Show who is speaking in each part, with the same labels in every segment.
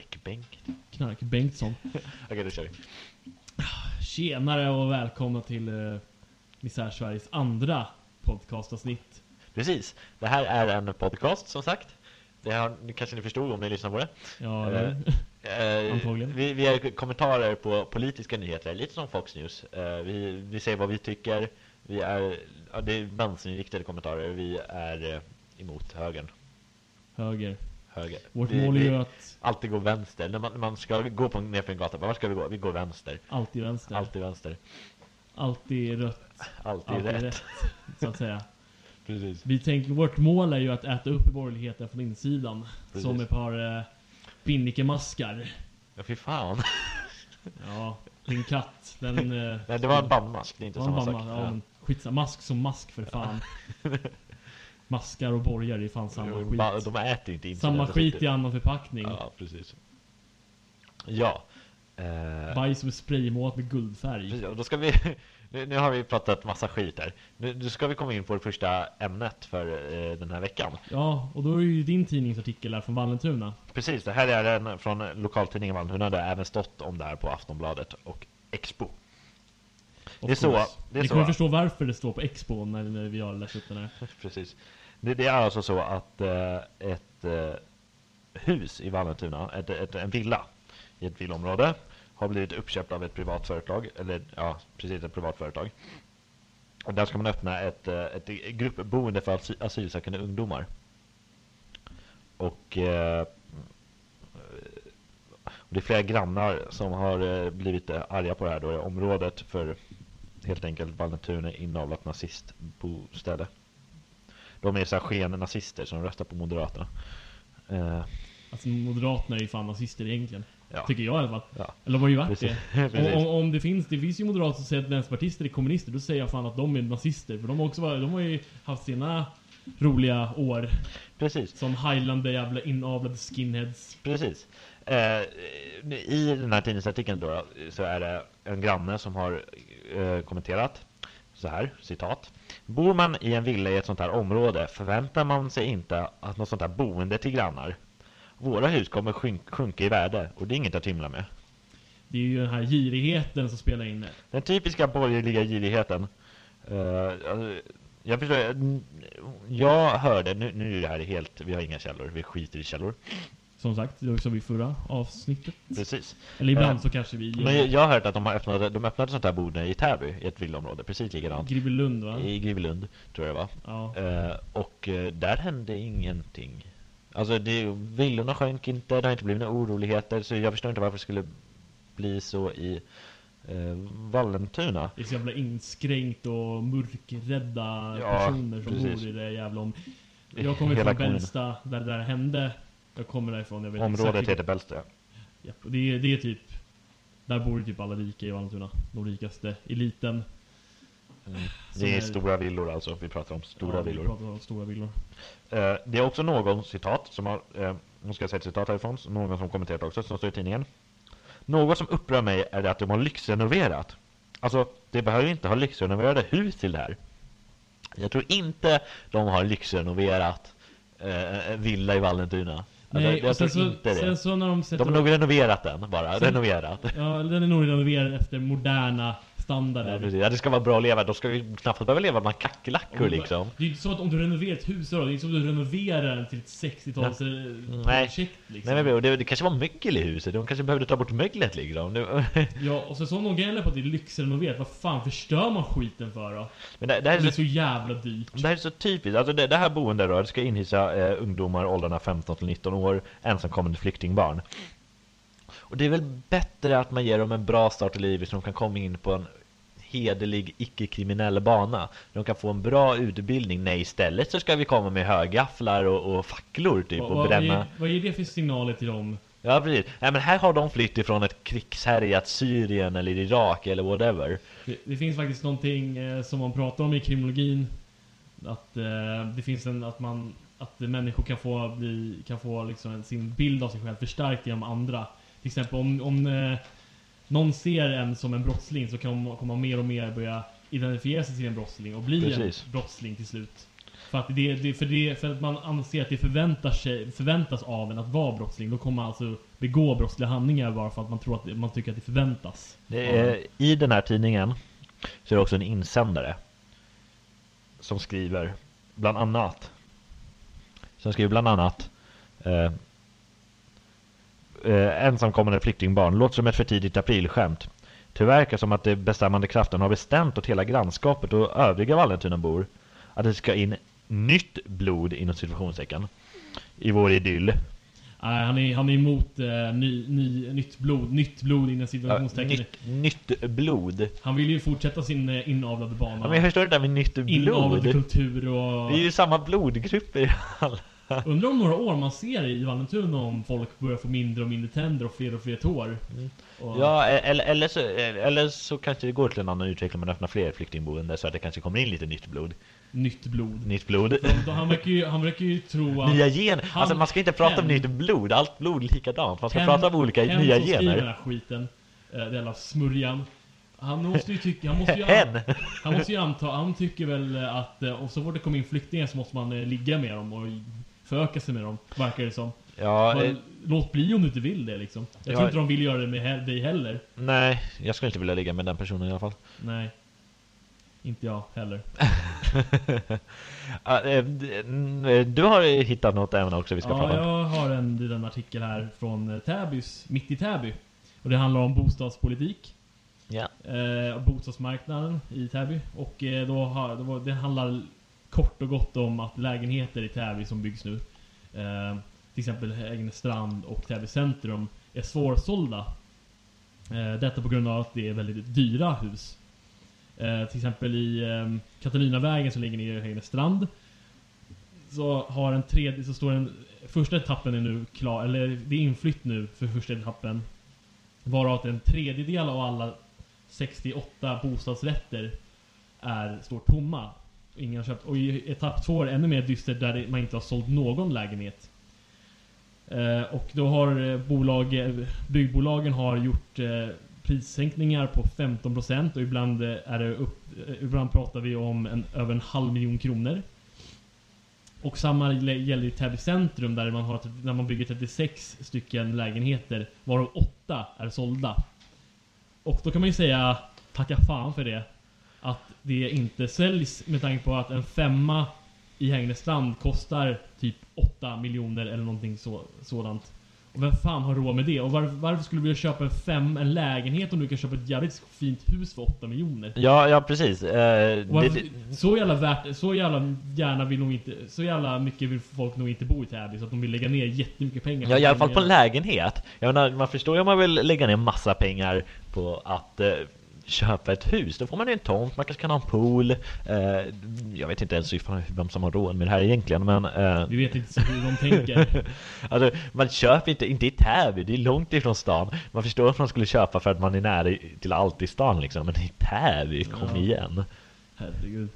Speaker 1: Knarkbänk.
Speaker 2: Knark Bengtsson.
Speaker 1: Okej, då kör vi.
Speaker 2: Tjenare och välkomna till eh, Misär Sveriges andra podcastavsnitt.
Speaker 1: Precis. Det här är en podcast, som sagt. Det har, nu kanske ni förstod om ni lyssnar på det.
Speaker 2: Ja,
Speaker 1: Eh,
Speaker 2: eller?
Speaker 1: Eh,
Speaker 2: Antagligen.
Speaker 1: Vi, vi har kommentarer på politiska nyheter, lite som Fox News. Eh, vi, vi säger vad vi tycker. Vi är, ja, det är vänsterinriktade kommentarer. Vi är eh, emot högern.
Speaker 2: höger.
Speaker 1: Höger.
Speaker 2: Vårt
Speaker 1: vi,
Speaker 2: mål är
Speaker 1: vi
Speaker 2: ju att
Speaker 1: Alltid gå vänster. När man, när man ska gå på, ner för en gata, bara, var ska vi gå? Vi går vänster.
Speaker 2: alltid vänster,
Speaker 1: Alltid vänster.
Speaker 2: alltid rött,
Speaker 1: Alltid,
Speaker 2: alltid
Speaker 1: rätt.
Speaker 2: rätt. så att säga.
Speaker 1: Precis.
Speaker 2: Vi tänker, vårt mål är ju att äta upp borgerligheten från insidan.
Speaker 1: Precis.
Speaker 2: Som ett par eh, binnikemaskar.
Speaker 1: Ja, fy fan.
Speaker 2: Ja, din katt, den... Eh,
Speaker 1: Nej, det var en bandmask. Det är inte
Speaker 2: var en
Speaker 1: samma
Speaker 2: mamma,
Speaker 1: sak.
Speaker 2: ja, men skitsamma. Mask som mask för fan. Maskar och borgar är fan samma
Speaker 1: Jo,
Speaker 2: skit.
Speaker 1: ba- De äter inte internet.
Speaker 2: Samma
Speaker 1: alltså,
Speaker 2: skit
Speaker 1: typ.
Speaker 2: i annan förpackning.
Speaker 1: Ja, precis. Ja. Eh,
Speaker 2: Bajs som är spraymålat med guldfärg.
Speaker 1: precis, och då ska vi... Nu, nu har vi pratat massa skit här. Nu, nu ska vi komma in på det första ämnet för eh, den här veckan.
Speaker 2: Ja, och då är ju din tidningsartikel här från Vallentuna.
Speaker 1: Precis, det här är en från lokaltidningen Malmhuna. Det har även stått om det här på Aftonbladet och Expo.
Speaker 2: Of
Speaker 1: Det är så,
Speaker 2: course.
Speaker 1: det är
Speaker 2: Ni
Speaker 1: så.
Speaker 2: kommer förstå varför det står på Expo när, när vi har läst upp den här.
Speaker 1: Precis. Det, det är alltså så att eh, ett eh, hus i Vallentuna, ett, ett, en villa i ett villaområde, har blivit uppköpt av ett privat företag, eller ja, precis ett privat företag. Och där ska man öppna ett, eh, ett gruppboende för asy- asylsökande ungdomar. Och eh, och det är flera grannar som har eh, blivit eh, arga på det här då, i området för helt enkelt Vallentuna är inavlat nazistboställe. De är så här sken-nazister som röstar på Moderaterna. Eh,
Speaker 2: Alltså Moderaterna är ju fan nazister egentligen.
Speaker 1: ja,
Speaker 2: Tycker jag i alla fall.
Speaker 1: Ja.
Speaker 2: Eller de har ju varit
Speaker 1: precis.
Speaker 2: det.
Speaker 1: precis.
Speaker 2: Om, om, om det finns, det finns ju moderater som säger att vänsterpartister är kommunister, då säger jag fan att de är nazister. För de har också varit, de har ju haft sina roliga år
Speaker 1: precis.
Speaker 2: som highlander jävla inavlade skinheads.
Speaker 1: Precis. Eh, I den här tidningsartikeln då, så är det en granne som har eh, kommenterat så här, citat. Bor man i en villa i ett sånt här område förväntar man sig inte att något sånt här boende till grannar. Våra hus kommer sjunk- sjunka i värde och det är inget att himla med.
Speaker 2: Det är ju den här girigheten som spelar in det.
Speaker 1: Den typiska borgerliga girigheten. Eh, alltså, jag förstår, n- jag hörde, nu, nu är det här helt, vi har inga källor, vi skiter i källor.
Speaker 2: Som sagt, det var ju som i förra avsnittet.
Speaker 1: Precis.
Speaker 2: Eller ibland
Speaker 1: Eh,
Speaker 2: så kanske vi...
Speaker 1: Men jag- jag har hört att de har öppnat, de öppnade sånt här boende i Täby, i ett villaområde, precis likadant.
Speaker 2: Gribbelund va?
Speaker 1: I Grivelund, tror jag det var.
Speaker 2: Ja.
Speaker 1: Eh, och eh, där hände ingenting. Alltså, det, villorna sjönk inte, det har inte blivit några oroligheter, så jag förstår inte varför det skulle bli så i eh, Vallentuna.
Speaker 2: Det är så jävla inskränkt och mörkrädda
Speaker 1: Ja,
Speaker 2: personer som
Speaker 1: precis.
Speaker 2: bor i det jävla om... Jag kommer
Speaker 1: Hela
Speaker 2: från
Speaker 1: kommunen.
Speaker 2: Bällsta, där det där hände. Jag kommer därifrån, jag vet
Speaker 1: Området
Speaker 2: exakt.
Speaker 1: heter Bällsta.
Speaker 2: Japp, och det, är, det är typ... Där bor ju typ alla rika i Vallentuna. De rikaste, eliten. Som
Speaker 1: Mm. Det är
Speaker 2: är-
Speaker 1: stora villor alltså, vi pratar om stora
Speaker 2: ja, vi
Speaker 1: villor.
Speaker 2: pratar om Stora villor.
Speaker 1: Eh, det är också någon citat som har, eh, nu ska jag säga ett citat härifrån, så någon som kommenterat också, som står i tidningen. Något som upprör mig är det att de har lyxrenoverat. Alltså, det behöver ju inte ha lyxrenoverade hus till det här. Jag tror inte de har lyxrenoverat eh, en villa i Vallentuna. Alltså,
Speaker 2: Nej, och
Speaker 1: jag
Speaker 2: sen
Speaker 1: tror
Speaker 2: så,
Speaker 1: inte
Speaker 2: sen
Speaker 1: det.
Speaker 2: så när de sätter...
Speaker 1: De har nog renoverat den bara,
Speaker 2: Sen-
Speaker 1: renoverat.
Speaker 2: ja, den är nog renoverad efter moderna
Speaker 1: Ja,
Speaker 2: standarder.
Speaker 1: precis. Ja, det ska vara bra att leva, då ska vi knappt behöva leva med kackerlackor liksom.
Speaker 2: Det är ju inte som att om du renoverar ett hus idag, det är inte som att du renoverar den till ett 60-tals
Speaker 1: Nej.
Speaker 2: projekt
Speaker 1: Nej,
Speaker 2: liksom.
Speaker 1: men bro, det, det kanske var mögel i huset, de kanske behövde ta bort möglet liksom. Det-
Speaker 2: Ja, och sen så någon gäller på att det är lyxrenoverat, vad fan förstör man skiten för då?
Speaker 1: Men det, det, här
Speaker 2: Det
Speaker 1: är
Speaker 2: är
Speaker 1: så,
Speaker 2: så jävla dyrt.
Speaker 1: det här är så typiskt. Alltså det, det här boendet då, det ska inhysa eh, ungdomar åldrarna 15 till 19 år, ensamkommande flyktingbarn. Och det är väl bättre att man ger dem en bra start i livet så de kan komma in på en hederlig, icke-kriminell bana. De kan få en bra utbildning. Nej, istället så ska vi komma med högafflar och, och facklor typ
Speaker 2: Vad-
Speaker 1: och
Speaker 2: vad, vad, ger,
Speaker 1: bränna.
Speaker 2: vad ger det för signaler till dem?
Speaker 1: Ja, precis. Nej, men här har de flytt ifrån ett krigshärjat Syrien eller Irak eller whatever.
Speaker 2: Det, det finns faktiskt någonting eh, som man pratar om i kriminologin. Att eh, det finns en, att man, att människor kan få, bli, kan få liksom en, sin bild av sig själv förstärkt genom andra. Till exempel om, om eh, någon ser en som en brottsling så kan man, kommer man mer och mer börja identifiera sig till en brottsling och bli
Speaker 1: Precis.
Speaker 2: en brottsling till slut. För att, det, det, för det, för att man anser att det förväntar sig, förväntas av en att vara brottsling. Då kommer man alltså begå brottsliga handlingar bara för att man tror att det- man tycker att det förväntas.
Speaker 1: Det är, I den här tidningen så är det också en insändare som skriver bland annat som skriver bland annat eh, eh, ensamkommande flyktingbarn låter som ett för tidigt aprilskämt. Det verkar som att de bestämmande krafterna har bestämt åt hela grannskapet och övriga Vallentunabor att det ska in nytt blod inom situationstecken i vår idyll.
Speaker 2: Nej, han, är, han är emot eh, ny, ny, nytt blod, nytt blod inom situationstecken.
Speaker 1: nytt, nytt blod.
Speaker 2: Han vill ju fortsätta sin eh, inavlade
Speaker 1: Ja, men jag
Speaker 2: bana.
Speaker 1: förstår det där med nytt blod.
Speaker 2: Inavlad kultur och...
Speaker 1: Det är ju samma blodgrupper alla.
Speaker 2: Undrar om några år man ser i Vallentuna om folk börjar få mindre och mindre tänder och fler och fler tår. Och,
Speaker 1: Mm. Ja, e- eller, eller, så, eller så kanske det går till en annan utveckling, man öppnar fler flyktingboenden så att det kanske kommer in lite nytt blod.
Speaker 2: Nytt blod.
Speaker 1: Nytt blod.
Speaker 2: Då Han verkar ju, han verkar ju tro att...
Speaker 1: Nya gen.
Speaker 2: Han-
Speaker 1: Alltså man ska inte prata om
Speaker 2: hen.
Speaker 1: nytt blod, allt blod är likadant. Man ska
Speaker 2: Hen-
Speaker 1: prata om olika
Speaker 2: hen
Speaker 1: nya
Speaker 2: som skriver den
Speaker 1: gener.
Speaker 2: här skiten, eh, den jävla smörjan. Han måste ju tycka... Han måste ju, an,
Speaker 1: Hen!
Speaker 2: han måste ju anta... Han tycker väl eh, att... eh, Och så fort det kommer in flyktingar så måste man eh, ligga med dem och föröka sig med dem, verkar det som.
Speaker 1: Ja, eh,
Speaker 2: Men, låt bli om du inte vill det liksom.
Speaker 1: Ja.
Speaker 2: Jag
Speaker 1: eh.
Speaker 2: tror inte de vill göra det med he- dig heller.
Speaker 1: nej, jag skulle inte vilja ligga med den personen i alla fall.
Speaker 2: Nej. Inte jag heller.
Speaker 1: Ah, eh, d- n- eh, Du har hittat något ämne också vi ska
Speaker 2: Ja,
Speaker 1: prata om.
Speaker 2: jag har en liten artikel här från eh, Täbys, Mitt i Täby. Och det handlar om bostadspolitik,
Speaker 1: Ja.
Speaker 2: eh, och bostadsmarknaden i Täby. Och eh, då har, det, var, det handlar kort och gott om att lägenheter i Täby som byggs nu, eh, till exempel Hägnestrand och Täby centrum, är svårsålda. Eh, detta på grund av att det är väldigt dyra hus. Eh, till exempel i eh, Katarinavägen som ligger nere i Hägnestrand så har en tredje, så står den första etappen är nu klar, eller det är inflytt nu för första etappen. Varav att en tredjedel av alla 68 bostadsrätter är, står tomma. Ingen har köpt. Och i etapp två är det ännu mer dyster där det- man inte har sålt någon lägenhet. Eh, och då har eh, bolag, eh, byggbolagen har gjort eh, prissänkningar på 15% och ibland, eh, är det upp, eh, ibland pratar vi om en, över en halv miljon kronor. Och samma gäller gäller i Täby centrum där man, har, där man bygger 36 stycken lägenheter varav 8 är sålda. Och då kan man ju säga tacka fan för det. Att det inte säljs med tanke på att en femma i Hägnestrand kostar typ 8 miljoner eller någonting så, sådant. Och vem fan har råd med det? Och varför, varför skulle du vilja köpa en, fem, en lägenhet om du kan köpa ett jävligt fint hus för 8 miljoner?
Speaker 1: Ja, ja precis. Eh,
Speaker 2: Och Varför,
Speaker 1: det-
Speaker 2: Så jävla värt, så jävla gärna vill nog inte, så jävla mycket vill folk nog inte bo i Täby så att de vill lägga ner jättemycket pengar.
Speaker 1: Ja, i alla fall på en
Speaker 2: lägenhet.
Speaker 1: lägenhet. Jag menar, man förstår ju om man vill lägga ner massa pengar på att eh, köpa ett hus. Då får man ju en tomt, man kanske kan ha en pool. Eh, jag vet inte ens ifall- vem som har råd med det här egentligen, men... Eh,
Speaker 2: Vi vet inte så hur de tänker.
Speaker 1: alltså, man köper inte, inte i Täby, det är långt ifrån stan. Man förstår att man skulle köpa för att man är nära i- till allt i stan liksom, men i Täby, kom
Speaker 2: Ja.
Speaker 1: igen.
Speaker 2: Herregud.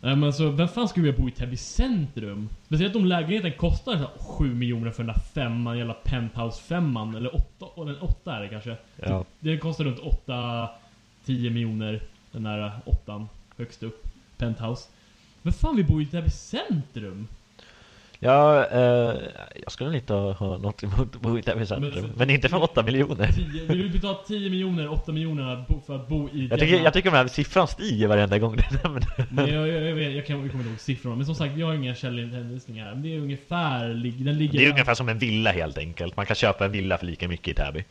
Speaker 2: Nej men så vem fan skulle vilja bo i Täby centrum? Speciellt om lägenheten kostar så här 7 miljoner för den där femman, jävla penthouse femman. Eller åtta, och den åtta är det kanske. Typ,
Speaker 1: Ja.
Speaker 2: Den kostar runt 8-10 miljoner, den där åttan. Högst upp. Penthouse. Vem fan vill bo i Täby centrum?
Speaker 1: Ja, eh, jag skulle inte ha något emot att bo i Täby centrum,
Speaker 2: för-
Speaker 1: men inte för 8 miljoner.
Speaker 2: 10, vill du betala 10 miljoner, 8 miljoner bo- för att bo i
Speaker 1: Jag tycker,
Speaker 2: denna-
Speaker 1: jag tycker den här siffran stiger varenda gång du nämner
Speaker 2: Men jag, jag, jag, vet, jag, kan, jag kommer inte ihåg siffrorna, men som sagt vi har inga källhänvisningar. här. Men det är ungefär, lig- den ligger...
Speaker 1: Det är ungefär som en villa helt enkelt. Man kan köpa en villa för lika mycket i Täby.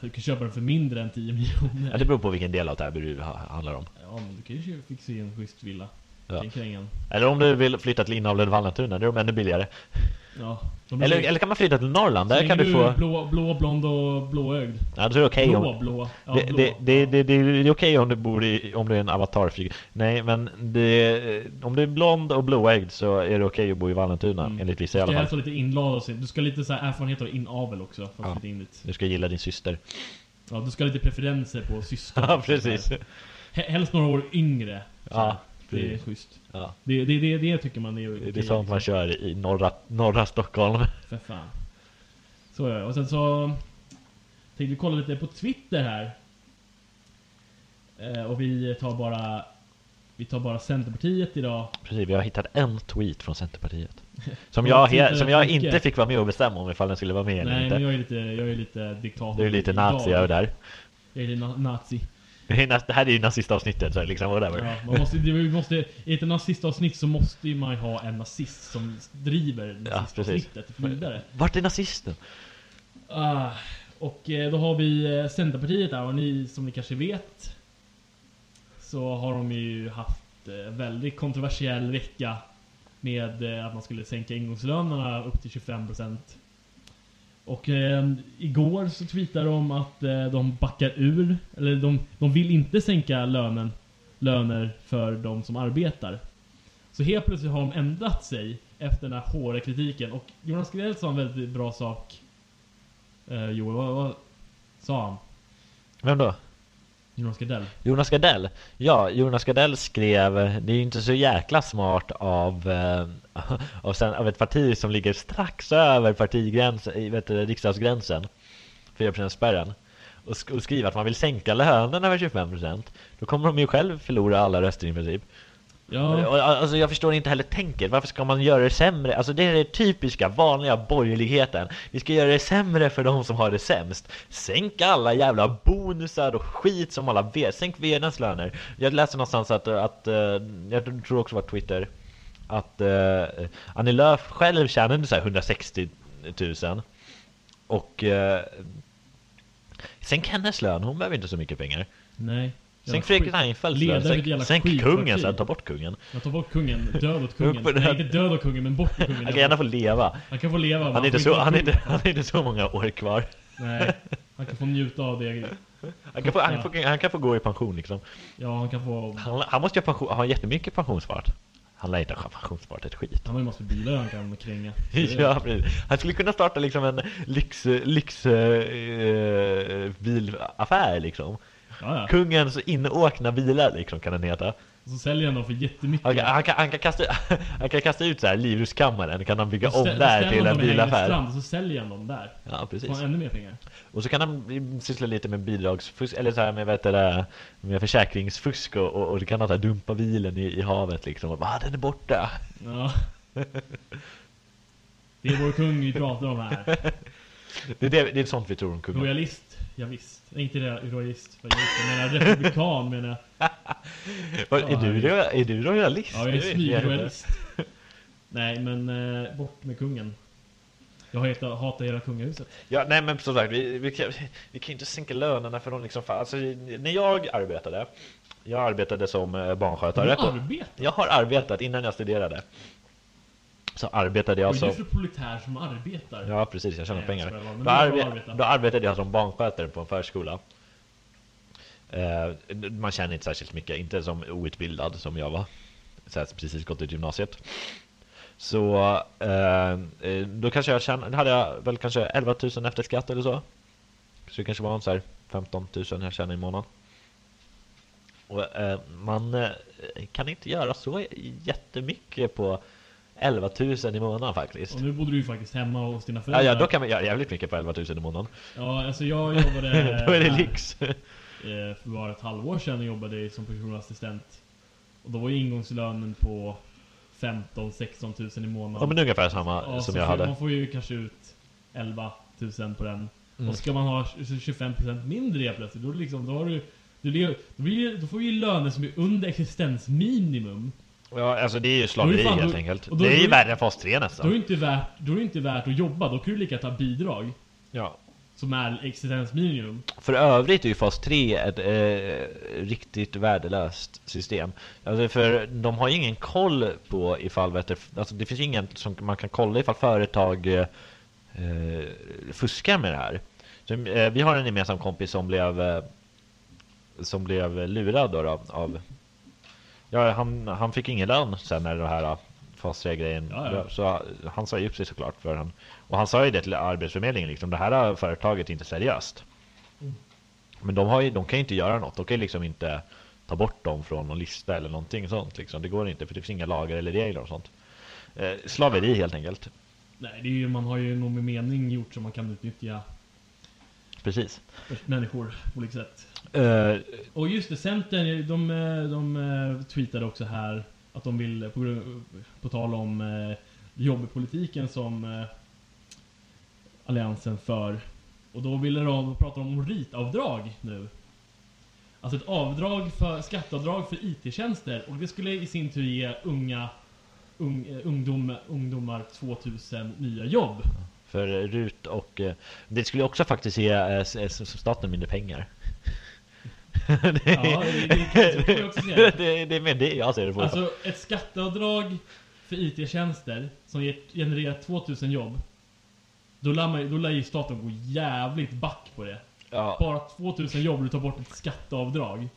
Speaker 2: Du kan köpa den för mindre än 10 miljoner.
Speaker 1: Ja, det beror på vilken del av Täby du ha- handlar om.
Speaker 2: Ja, men du kan ju fixa i en schysst villa.
Speaker 1: Ja.
Speaker 2: Kring krängen.
Speaker 1: Eller om du vill flytta till inavlade Vallentuna, då är de ännu billigare.
Speaker 2: Ja. De
Speaker 1: Eller,
Speaker 2: blir-
Speaker 1: eller kan man flytta till Norrland,
Speaker 2: Mm. så
Speaker 1: där kan du
Speaker 2: länge
Speaker 1: få...
Speaker 2: är Blå, blå, blond och blåögd.
Speaker 1: Ja, då är det okej
Speaker 2: blå,
Speaker 1: om...
Speaker 2: blå. Ja,
Speaker 1: Det,
Speaker 2: blå.
Speaker 1: det, det, det, det, det är okej om du bor i, om du är en avatarfigur. Nej, men det, om du är blond och blåögd så är det okej att bo i Vallentuna,
Speaker 2: Mm.
Speaker 1: enligt vissa i
Speaker 2: Du ska
Speaker 1: alla
Speaker 2: helst
Speaker 1: fall.
Speaker 2: ha lite inlad och så. Du ska ha lite så här erfarenhet av inavel också. För att
Speaker 1: Ja.
Speaker 2: flytta in dit.
Speaker 1: Du ska gilla din syster.
Speaker 2: Ja, du ska ha lite preferenser på syskon.
Speaker 1: Ja, precis.
Speaker 2: He- Helst några år yngre. Så
Speaker 1: Ja,
Speaker 2: det är
Speaker 1: precis.
Speaker 2: schysst.
Speaker 1: Ja.
Speaker 2: Det, det, det, det tycker man är
Speaker 1: Det
Speaker 2: okej,
Speaker 1: är sånt man
Speaker 2: liksom.
Speaker 1: kör i norra, norra Stockholm.
Speaker 2: För fan. Så ja, och sen så tänkte vi kolla lite på Twitter här. Eh, och vi tar bara Vi tar bara Centerpartiet idag.
Speaker 1: Precis, vi har hittat en tweet från Centerpartiet. Som
Speaker 2: Och
Speaker 1: jag,
Speaker 2: tweetar
Speaker 1: he- som jag
Speaker 2: mycket.
Speaker 1: inte fick vara med och bestämma om ifall den skulle vara med eller
Speaker 2: Nej,
Speaker 1: inte.
Speaker 2: men jag är lite, jag är lite diktator.
Speaker 1: Du är lite nazi
Speaker 2: idag.
Speaker 1: över där.
Speaker 2: Jag är lite na- nazi.
Speaker 1: Det är nas- det här är ju nazistavsnittet, så liksom whatever.
Speaker 2: Ja, man måste, det- vi måste, I ett nazistavsnitt så måste ju man ha en nazist som driver
Speaker 1: Ja,
Speaker 2: nazistavsnittet vidare.
Speaker 1: Vart är nazisten?
Speaker 2: Ah, och eh, då har vi eh, Centerpartiet där och ni som ni kanske vet så har de ju haft eh, väldigt kontroversiell vecka med eh, att man skulle sänka ingångslönerna upp till 25%. Och eh, igår så tweetade de att eh, de backar ur, eller de, de vill inte sänka lönen, löner för de som arbetar. Så helt plötsligt har de ändrat sig efter den här hårda kritiken och Jonas Gardell sa en väldigt bra sak Eh, Joel, vad, vad sa han?
Speaker 1: Vem då?
Speaker 2: Jonas Gardell?
Speaker 1: Jonas Gardell? Ja, Jonas Gardell skrev Det är ju inte så jäkla smart av, eh, av, sen, av ett parti som ligger strax över partigräns, eh, vet du, riksdagsgränsen 4%-spärren och, sk- och skriva att man vill sänka lönerna med 25% Då kommer de ju själv förlora alla röster i princip
Speaker 2: Ja,
Speaker 1: Och, Alltså jag förstår inte heller tänket, varför ska man göra det sämre? Alltså det är det typiska vanliga borgerligheten Vi ska göra det sämre för de som har det sämst Sänk alla jävla bonusar och skit som alla vet, sänk vdns löner Jag läste någonstans att, att eh, jag tror också det var Twitter Att eh, Annie Lööf själv tjänade så här 160 000 Och eh, Sänk hennes lön, hon behöver inte så mycket pengar
Speaker 2: nej. Jävla
Speaker 1: Sänk Fredrik
Speaker 2: skit.
Speaker 1: Reinfeldts
Speaker 2: Ledare
Speaker 1: lön,
Speaker 2: för ett jävla
Speaker 1: sänk, sänk
Speaker 2: skitparti.
Speaker 1: kungen så här, ta bort kungen
Speaker 2: Jag tar bort kungen, död åt kungen.
Speaker 1: Upp med
Speaker 2: Nej,
Speaker 1: det.
Speaker 2: inte död åt kungen, men bort åt kungen.
Speaker 1: Han kan gärna få leva.
Speaker 2: Han kan få leva. men
Speaker 1: Han är, inte
Speaker 2: får
Speaker 1: så,
Speaker 2: vara
Speaker 1: han, är
Speaker 2: kung.
Speaker 1: inte, han är inte så många år kvar.
Speaker 2: Nej, han kan få njuta av det.
Speaker 1: Han kan få, han får, han kan få gå i pension liksom.
Speaker 2: Ja, han kan få...
Speaker 1: Han, han måste ju ha, pension, ha jättemycket pensionsspart. Han lär inte ha pensionsspart ett skit.
Speaker 2: Han har ju massor av bilar han kan kränga.
Speaker 1: Ja, precis. Han skulle kunna starta liksom en lyx, lyx eh, bilaffär liksom.
Speaker 2: Ja, ja.
Speaker 1: Kungens inåkna bilar liksom kan den heta.
Speaker 2: Och så säljer han dem för jättemycket.
Speaker 1: Han, kan- han, kan, han, kan, kasta, han kan kasta ut så här livrustkammaren, kan han bygga
Speaker 2: Så
Speaker 1: om
Speaker 2: stä-
Speaker 1: där
Speaker 2: ställer
Speaker 1: till
Speaker 2: han
Speaker 1: en
Speaker 2: dem i Hägglunds
Speaker 1: bilaffär.
Speaker 2: Strand och så säljer han dem där.
Speaker 1: Ja,
Speaker 2: Så
Speaker 1: precis.
Speaker 2: får han ännu mer pengar.
Speaker 1: Och så kan han syssla lite med bidragsfusk, eller så här med, vet du, det, med försäkringsfusk och, och, och det kan han så här dumpa bilen i, i havet liksom och bara ah, den är borta.
Speaker 2: Ja. Det är vår kung vi pratar om här.
Speaker 1: Det är, det, det är sånt vi tror om kungen.
Speaker 2: Royalist, ja, visst. Nej, inte det, royalist. vad gick det? Jag menar republikan menar jag.
Speaker 1: Vad-
Speaker 2: Ja,
Speaker 1: är, du,
Speaker 2: herregud.
Speaker 1: ro- är du royalist?
Speaker 2: Ja, jag är
Speaker 1: Det vet jag inte.
Speaker 2: smygroyalist. Nej, men eh, bort med kungen. Jag hatar, hatar hela kungahuset.
Speaker 1: Ja, nej men som sagt, vi, vi, kan, vi kan ju inte sänka lönerna för de liksom, fan, alltså, när jag arbetade, jag arbetade som eh,
Speaker 2: Har du
Speaker 1: barnskötare. på-
Speaker 2: arbete?
Speaker 1: Jag har arbetat innan jag studerade. Så arbetade jag
Speaker 2: Vad är
Speaker 1: som...
Speaker 2: du för proletär som arbetar?
Speaker 1: Ja precis, jag tjänar
Speaker 2: Nej,
Speaker 1: pengar.
Speaker 2: jag skojar bara, men
Speaker 1: Då, arbe-
Speaker 2: det är bra att arbeta.
Speaker 1: då arbetade jag som barnskötare på en förskola. Eh, man tjänar inte särskilt mycket, inte som outbildad som jag var. Så här, precis gått ut gymnasiet. Så eh, eh, då kanske jag tjänade, då hade jag väl kanske 11 000 efter skatt eller så. Så det kanske var en så här 15 000 jag tjänade i månaden. Och, eh, man eh, kan inte göra så jättemycket på 11 000 i månaden faktiskt.
Speaker 2: Och nu bodde du ju faktiskt hemma hos dina
Speaker 1: Ja,
Speaker 2: föräldrar.
Speaker 1: ja, då kan man göra jävligt mycket på 11 000 i månaden.
Speaker 2: Ja, alltså jag jobbade
Speaker 1: då är det
Speaker 2: här,
Speaker 1: lyx.
Speaker 2: eh, för bara ett halvår sedan och jobbade som personlig assistent. Och då var ju ingångslönen på 15-16 000 i månaden.
Speaker 1: Ja, men ungefär samma
Speaker 2: Ja,
Speaker 1: som
Speaker 2: så
Speaker 1: jag
Speaker 2: får-
Speaker 1: hade.
Speaker 2: Man får ju kanske ut 11 000 på den.
Speaker 1: Mm.
Speaker 2: Och ska man ha 25% mindre helt plötsligt, då, liksom, då har du... du lever- Då, blir, det- då får du ju löner som är under existensminimum.
Speaker 1: Ja, alltså det är ju
Speaker 2: Då
Speaker 1: slaveri
Speaker 2: är det fan-
Speaker 1: helt
Speaker 2: då-
Speaker 1: enkelt.
Speaker 2: och då-
Speaker 1: det är
Speaker 2: då
Speaker 1: ju
Speaker 2: är-
Speaker 1: värre än fas 3
Speaker 2: Då är,
Speaker 1: nästan.
Speaker 2: det inte värt, då är det inte värt att jobba, då kan du lika gärna ta bidrag
Speaker 1: Ja.
Speaker 2: som är existensminimum.
Speaker 1: För övrigt är ju fas 3 ett eh, riktigt värdelöst system. Alltså för de har ju ingen koll på ifall, vet du, alltså det finns ju ingen som man kan kolla ifall företag eh, eh, fuskar med det här. Så, eh, vi har en gemensam kompis som blev, eh, som blev lurad då, då av Ja, han, han fick ingen lön sen när den här fas 3-grejen
Speaker 2: Ja, ja.
Speaker 1: blev. Så eh, han sa ju upp sig såklart för han. Och han sa ju det till Arbetsförmedlingen liksom, det här företaget är inte seriöst.
Speaker 2: Mm.
Speaker 1: Men de, har ju, de kan ju inte göra något, de kan ju liksom inte ta bort dem från någon lista eller någonting sånt liksom. Det går inte för det finns inga lagar eller regler och sånt. Eh, slaveri helt enkelt.
Speaker 2: Nej, det är ju, man har ju nog med mening gjort så man kan utnyttja
Speaker 1: Precis.
Speaker 2: människor på olika sätt.
Speaker 1: Eh,
Speaker 2: Och just det, Centern, de, eh, de eh, tweetade också här att de vill, eh, på, grund- på tal om eh, jobbpolitiken som eh, Alliansen för. Och då ville de, då pratar de om RIT-avdrag nu. Alltså ett avdrag för, skatteavdrag för IT-tjänster och det skulle i sin tur ge unga ung, eh, ungdom, ungdomar 2000 nya jobb.
Speaker 1: för RUT och eh, det skulle också faktiskt ge eh, s- s- staten mindre pengar. det,
Speaker 2: Ja, det- det kan- så kan jag också se det.
Speaker 1: det, det är mer det jag ser det på.
Speaker 2: Alltså ett skatteavdrag för IT-tjänster som ger- genererar 2000 jobb. Då lär, man, ju- då lär ju staten gå jävligt back på det.
Speaker 1: ja,
Speaker 2: Bara 2000 jobb du tar bort ett skatteavdrag.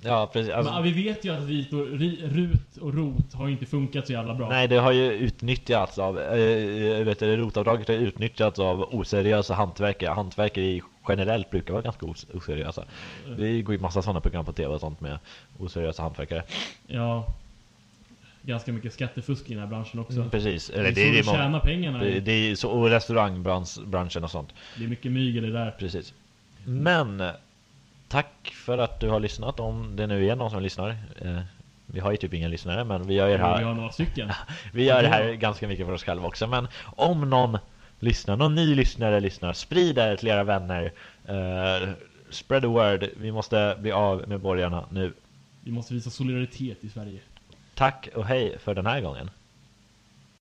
Speaker 1: ja, precis. Alltså,
Speaker 2: Men vi vet ju att RIT och, ri, RUT och ROT har ju inte funkat så jävla bra.
Speaker 1: Nej, det har ju utnyttjats av, äh, vet du, rotavdraget har utnyttjats av oseriösa hantverkare. Hantverkare i generellt brukar vara ganska os- oseriösa. Det går ju massa sådana program på tv och sånt med oseriösa hantverkare.
Speaker 2: Ja. Ganska mycket skattefusk i den här branschen också.
Speaker 1: Precis. Mm. Eller
Speaker 2: Det är
Speaker 1: det,
Speaker 2: så du
Speaker 1: det, är,
Speaker 2: tjänar pengarna.
Speaker 1: det, det är så, och restaurangbranschen och sånt.
Speaker 2: Det är mycket mygel i det där.
Speaker 1: Precis.
Speaker 2: Mm.
Speaker 1: Men eh, tack för att du har lyssnat om det nu är någon som lyssnar. Eh, Vi har ju typ ingen lyssnare, men vi gör ju det
Speaker 2: Ja, vi
Speaker 1: här
Speaker 2: har några stycken.
Speaker 1: Vi gör det här ganska mycket för oss själva också, men om någon lyssnar, någon ny lyssnare lyssnar, sprid det till era vänner. Eh, spread the word. Vi måste bli av med borgarna nu.
Speaker 2: Vi måste visa solidaritet i Sverige.
Speaker 1: Tack och hej för den här gången.